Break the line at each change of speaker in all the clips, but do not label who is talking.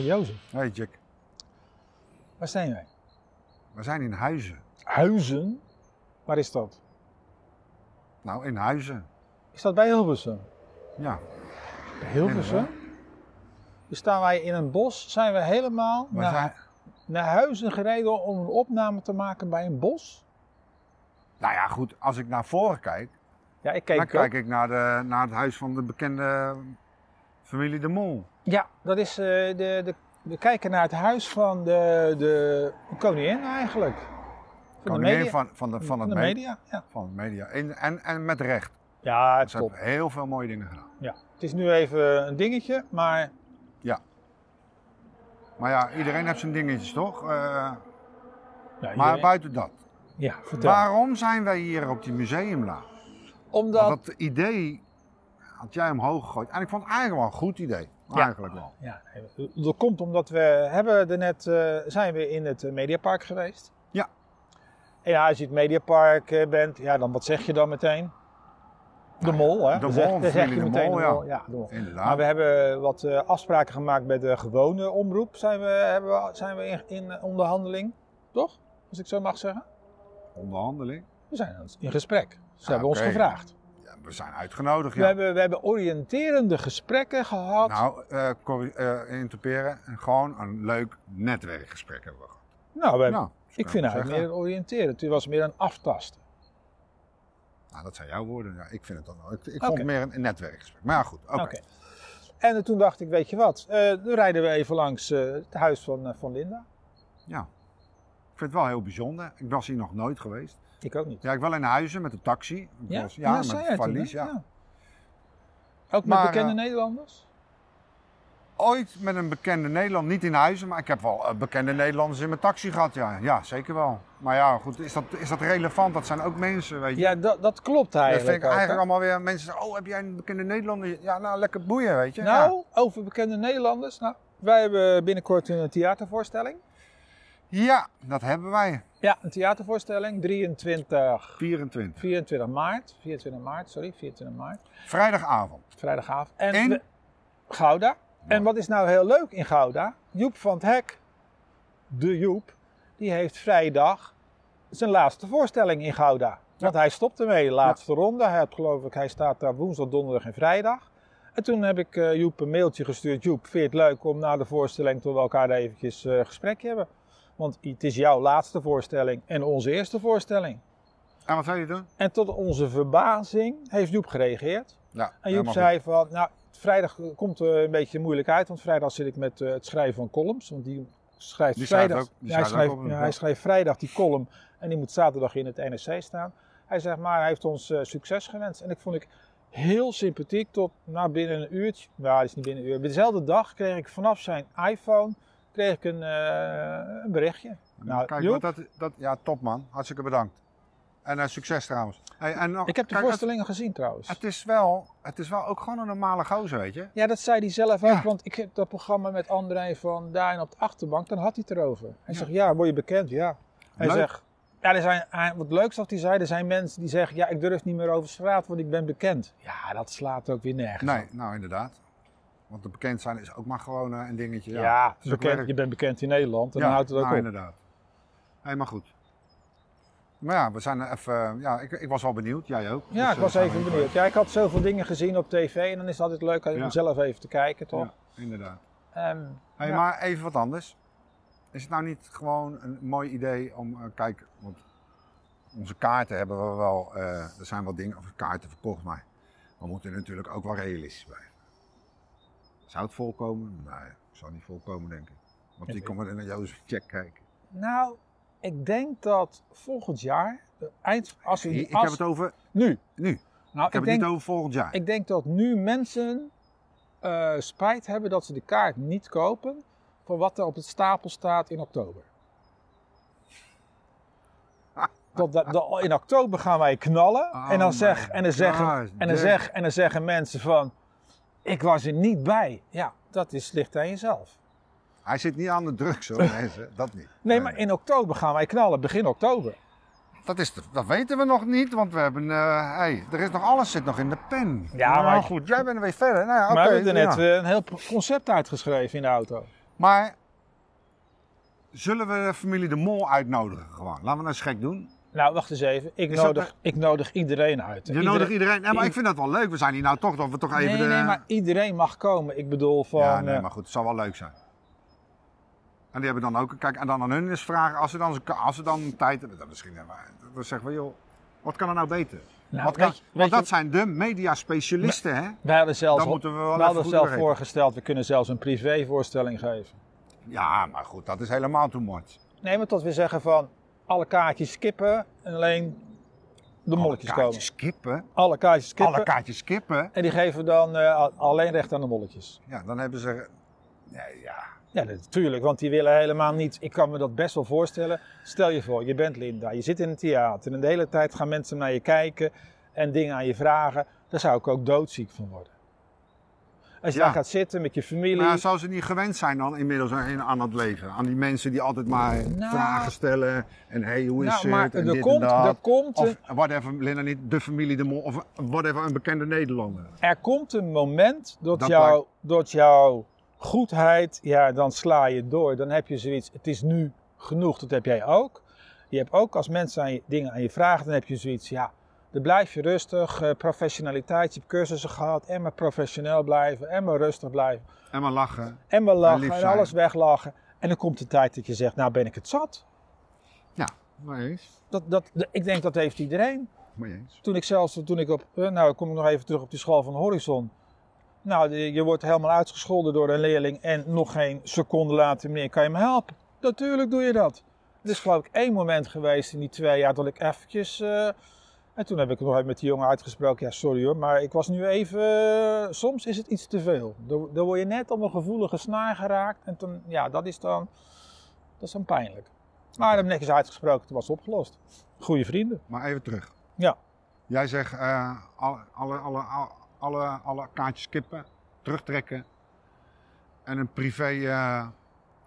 Hey Jack,
Waar zijn wij?
we zijn in Huizen.
Huizen? Waar is dat?
Nou, in Huizen.
Is dat bij Hilversum?
Ja,
Hilversum? Dus staan wij in een bos, zijn we helemaal
we
naar,
zijn...
naar Huizen gereden om een opname te maken bij een bos?
Nou ja, goed, als ik naar voren kijk,
Ja, ik kijk,
dan
ook.
kijk ik naar, de, naar het huis van de bekende familie De Mol.
Ja, dat is eh, de, de, we kijken naar het huis van de, de koningin eigenlijk. Van de
Koningin
media.
van, van, de, van, het
de
me-
media, ja.
van het media. En, en, en met recht.
Ja,
Ze hebben heel veel mooie dingen gedaan.
Ja. Het is nu even een dingetje, maar
Maar ja, iedereen heeft zijn dingetjes, toch? Eh,
Ja,
Maar
iedereen-
buiten dat.
ja, vertel.
Waarom zijn wij hier op die museumlaan?
Omdat...
Want dat idee had jij omhoog gegooid. En ik vond het eigenlijk wel een goed idee.
Ja.
Eigenlijk wel.
Ja, nee, dat komt omdat we hebben er net, eh, zijn we in het eh, Mediapark geweest.
Ja.
En ja, als je het Mediapark eh, bent, ja, dan wat zeg je dan meteen? De mol, hè?
Nou de
Dan zeg-
Mol,
dan zeg je
familie De
meteen
Mol,
de
ja.
mol. Ja, de mol. Maar
Inderdaad.
we hebben wat eh, afspraken gemaakt met de gewone omroep. Zijn we, hebben we, zijn we in, in eh, onderhandeling, toch? Als ik zo mag zeggen.
Onderhandeling.
We zijn in gesprek. Ze
Ja,
hebben ons
Ah, oké.
gevraagd.
Ja, we zijn uitgenodigd.
We,
Ja.
hebben, we hebben oriënterende gesprekken gehad.
Nou, eh corri- eh, interperen. En Gewoon een leuk netwerkgesprek hebben we gehad.
Nou, we hebben-
Nou, dus
ik
kan
vind
wel
eigenlijk meer een
zeggen.
oriënteren. Het was meer een aftasten.
Nou, dat zijn jouw woorden. Ja, ik vind het dan wel. Ik, ik vond
Oké.
het meer een, een netwerkgesprek. Maar ja, goed. Oké.
Oké. En eh, toen dacht ik, weet je wat, eh, dan rijden we even langs eh, het huis van, eh, van Linda.
Ik vind het wel heel bijzonder. Ik was hier nog nooit geweest.
Ik ook niet. Dus,
Ja, ik wel in huizen met de taxi. Ik was-
Ja,
ja,
zei
met
jij
de
toen,
valies.
hè?
ja.
Ook met
Maar,
bekende
eh,
Nederlanders?
Ooit met een bekende Nederlander, niet in huizen, maar ik heb wel eh, bekende Nederlanders in mijn taxi gehad. Ja, ja zeker wel. Maar ja, goed, is dat, is dat relevant? Dat zijn ook mensen, weet je.
Ja, dat, dat klopt
dat vind
eigenlijk.
ik
ook, hè?
eigenlijk allemaal weer mensen zeggen, oh, heb jij een bekende Nederlander? Ja, nou, lekker boeien, weet je.
Nou, over bekende Nederlanders. Nou, wij hebben binnenkort een theatervoorstelling.
Ja. ja, dat hebben wij.
Ja, een theatervoorstelling. 23,
24.
24 maart. 24 maart, sorry. 24 maart.
Vrijdagavond.
Vrijdagavond. En
In?
we- Gouda. En wat is nou heel leuk in Gouda? Joep van het Hek, de Joep, die heeft vrijdag zijn laatste voorstelling in Gouda. Want hij stopt ermee, laatste ronde. Hij, had, geloof ik, hij staat daar woensdag, donderdag en vrijdag. En toen heb ik eh, Joep een mailtje gestuurd. Joep, vind je het leuk om na de voorstelling tot we elkaar eventjes eh, een gesprekje hebben? Want het is jouw laatste voorstelling en onze eerste voorstelling.
En wat zei je toen?
En tot onze verbazing heeft Joep gereageerd.
Ja,
En Joep
helemaal
zei van, nou, vrijdag komt eh een beetje moeilijk uit, want vrijdag zit ik met eh, het schrijven van columns. Want die schrijft
Die schrijft
vrijdag.
ook- die
ja, hij,
schrijft
schrijft,
ook columns,
ja,
ja.
hij schrijft vrijdag die column en die moet zaterdag in het NRC staan. Hij zegt maar, hij heeft ons eh, succes gewenst. En ik vond ik heel sympathiek tot na binnen een uurtje, nou, het is niet binnen een uur, maar dezelfde dag kreeg ik vanaf zijn iPhone kreeg ik een, eh, een berichtje.
goed.
Nou,
Kijk,
Joep,
want dat, dat, ja, top man. Hartstikke bedankt. En eh, succes trouwens. Hey, en nog-
ik heb de
kijk, het,
voorstellingen gezien trouwens.
het, is wel, het is wel ook gewoon een normale gozer, weet je.
Ja, dat zei hij zelf ook,
Ja.
want ik heb dat programma met André van Duin op de achterbank, dan had hij het erover. Hij
Ja.
zegt, ja, word je bekend? Ja. Hij
Leuk.
zegt, ja, er zijn, hij- wat leuk wat hij zei, er zijn mensen die zeggen, ja, ik durf niet meer over straat, want ik ben bekend. Ja, dat slaat ook weer nergens.
Nee, nou inderdaad. Want het bekend zijn is ook maar gewoon eh, een dingetje.
Ja,
Ja,
ja
Het is ook
bekend,
werk.
je bent bekend in Nederland en
Ja,
dan houdt het ook
nou,
op.
inderdaad. Helemaal goed. Maar ja, we zijn er even... Ja, ik, ik was wel benieuwd. Jij ook.
Ja,
Dus,
ik was
eh, gaan
even
we-
benieuwd. Ja, ik had zoveel dingen gezien op tv en dan is het altijd leuk om
Ja.
zelf even te kijken, toch?
Ja, inderdaad.
Ehm,
Hey,
Ja.
Maar even wat anders. Is het nou niet gewoon een mooi idee om... eh, kijk, want onze kaarten hebben we wel... eh, er zijn wel dingen... Of kaarten verkocht, maar we moeten natuurlijk ook wel realistisch blijven. Zou het volkomen? Nee, zou niet volkomen, denk ik. Want die
weet
komen naar Jozef Jack kijken.
nou, ik denk dat volgend jaar, de eind, als we...
Ik
als-
heb het over
Nu.
nu. Ik
Nou, ik,
heb het
denk
niet over volgend jaar.
Ik denk dat nu mensen eh, spijt hebben dat ze de kaart niet kopen voor wat er op het stapel staat in oktober. Dat, dat, dat- in oktober gaan wij knallen
Oh
en, dan
my
zeg, en, dan
God,
zeggen, en, dan
Jack.
zeg, en dan zeggen mensen van, ik was er niet bij. Ja, dat is, ligt aan jezelf.
Hij zit niet aan de drugs hoor, mensen. Dat niet.
Nee, maar in oktober gaan wij knallen, begin oktober.
dat, is de- dat weten we nog niet, want we hebben... eh, hey, er is nog alles zit nog in de pen.
Ja,
Nou,
maar-
goed, jij bent er weer verder. Nou, ja,
maar
oké,
we hebben er net
ja.
eh, een heel concept uitgeschreven in de auto.
Maar Zullen we de familie De Mol uitnodigen gewoon? Laten we dat eens gek doen.
Nou, wacht eens even. Ik,
Is dat
nodig, ik nodig iedereen uit.
Je nodigt iedereen. Ja, maar ik vind dat wel leuk. We zijn hier nou toch dat we toch even
nee,
de...
nee, maar iedereen mag komen. Ik bedoel van...
ja, nee,
eh,
maar goed, het zal wel leuk zijn. En die hebben dan ook, kijk, en dan aan hun is vragen, als ze dan, als ze dan tijd hebben, dan misschien, eh, maar dan zeggen we, joh, wat kan er nou beter?
nou,
wat kan,
weet je- weet
want dat
je,
zijn de mediaspecialisten, hè?
wij hadden zelfs,
Dan moeten we wel
we
even
hadden
goed
zelf
doorrekenen.
voorgesteld, we kunnen zelfs een privévoorstelling geven.
Ja, maar goed, dat is helemaal too much.
Nee, maar tot we zeggen van, alle kaartjes skippen en alleen de molletjes
Alle
komen.
kaartjes kippen.
Alle kaartjes skippen.
Alle kaartjes kippen.
en die geven we dan eh, alleen recht aan de molletjes.
Ja, dan hebben ze... Nee, ja.
Ja, natuurlijk, want die willen helemaal niet. Ik kan me dat best wel voorstellen. Stel je voor, je bent Linda, je zit in het theater en de hele tijd gaan mensen naar je kijken en dingen aan je vragen. Daar zou ik ook doodziek van worden. Als je
Ja. Nou,
daar gaat zitten met je familie.
Maar zou ze niet gewend zijn dan inmiddels aan aan het leven? Aan die mensen die altijd maar
Nou.
vragen stellen. En hé, hey, hoe is
nou,
het?
maar
en
er
dit
komt,
en dat.
er, komt een,
Of whatever, Linda niet, de familie de mol, of whatever, een bekende Nederlander.
er komt een moment dat,
Dat
jou, dat jouw goedheid, ja, dan sla je door. Dan heb je zoiets, het is nu genoeg. Dat heb jij ook. Je hebt ook als mensen aan je, dingen aan je vragen, dan heb je zoiets, ja, dan blijf je rustig. eh, professionaliteit, je hebt cursussen gehad. En maar professioneel blijven, en maar rustig blijven.
En maar lachen.
En maar lachen,
lief
en
zijn.
alles weglachen. En dan komt de tijd dat je zegt, nou ben ik het zat.
Ja, maar eens.
Dat, dat, dat- ik denk dat heeft iedereen.
Maar eens.
Toen ik zelfs, toen ik op, eh, nou kom ik nog even terug op die school van Horizon. Nou, de- je wordt helemaal uitgescholden door een leerling en nog geen seconde later, meneer, kan je me helpen? Natuurlijk doe je dat. Er is geloof ik één moment geweest in die twee jaar dat ik eventjes... eh, en toen heb ik nog even met die jongen uitgesproken, ja sorry hoor, maar ik was nu even... eh, soms is het iets te veel. Dan, dan word je net op een gevoelige snaar geraakt en toen, ja, dat is dan, dat is dan pijnlijk. Maar dan heb ik netjes uitgesproken, toen was het opgelost. Goeie vrienden.
Maar even terug.
Ja.
Jij zegt eh, alle, alle, alle, alle, alle kaartjes kippen, terugtrekken. En een privé. eh,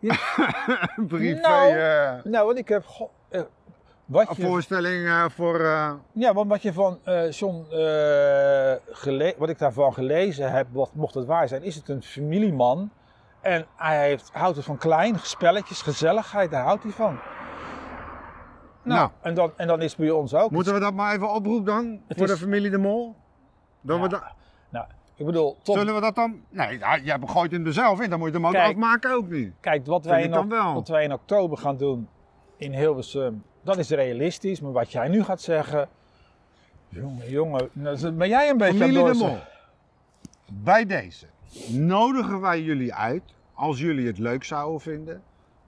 Ja.
een privé.
Nou.
eh,
Nou, want ik heb. go- eh, wat,
een
je, Nou.
voorstelling eh, voor. eh,
ja, want wat je van eh, John. eh, gele- wat ik daarvan gelezen heb, wat, mocht het waar zijn, is het een familieman. En hij heeft, houdt het van klein, spelletjes, gezelligheid, daar houdt hij van. Nou,
Nou.
En, dan, en dan is het bij ons ook.
moeten we dat maar even oproepen dan?
Het
voor
is-
de familie De Mol? Dat
Ja,
we da-
Nou, ik bedoel, tot,
Zullen we dat dan. Nee, ja, jij gooit hem er zelf in, dan moet je hem ook
Kijk.
afmaken ook niet.
kijk, wat
Vind
wij,
ik
in,
dan
ok-
wel.
wat wij in oktober gaan doen in Hilversum, dat is realistisch. Maar wat jij nu gaat zeggen. Jongen, jongen, nou, ben jij een beetje aan
Familie de
het
Mol.
doorzetten.
Bij deze nodigen wij jullie uit, als jullie het leuk zouden vinden,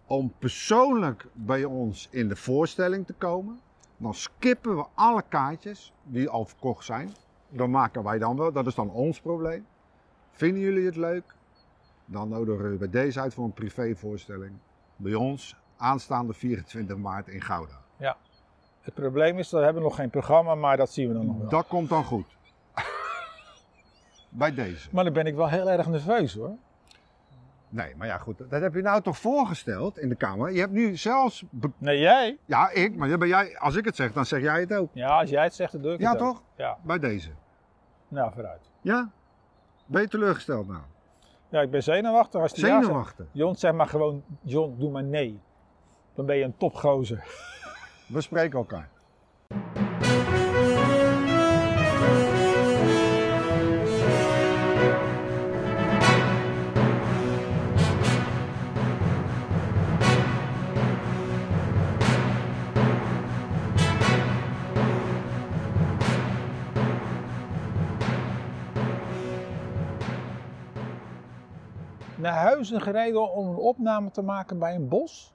om persoonlijk bij ons in de voorstelling te komen. Dan skippen we alle kaartjes die al verkocht zijn. Dan maken wij dan wel, dat is dan ons probleem. Vinden jullie het leuk? Dan nodigen we bij deze uit voor een privévoorstelling. Bij ons, aanstaande 24 maart in Gouda.
Het probleem is, dat we hebben nog geen programma, maar dat zien we dan nog wel.
Dat komt dan goed. bij deze.
Maar dan ben ik wel heel erg nerveus hoor.
Nee, maar ja, goed. Dat heb je nou toch voorgesteld in de Kamer? Je hebt nu zelfs. be-
Nee, jij?
Ja, ik, maar dan ben jij, als ik het zeg, dan zeg jij het ook.
Ja, als jij het zegt, dan doe ik
Ja,
het ook.
toch?
Ja,
Bij deze.
nou vooruit.
Ja? Ben je teleurgesteld nou?
Ja, ik ben zenuwachtig als die ja zegt.
Zenuwachtig.
John, zeg maar gewoon, John, doe maar nee. Dan ben je een topgozer.
We spreken elkaar.
Naar huizen gereden om een opname te maken bij een bos?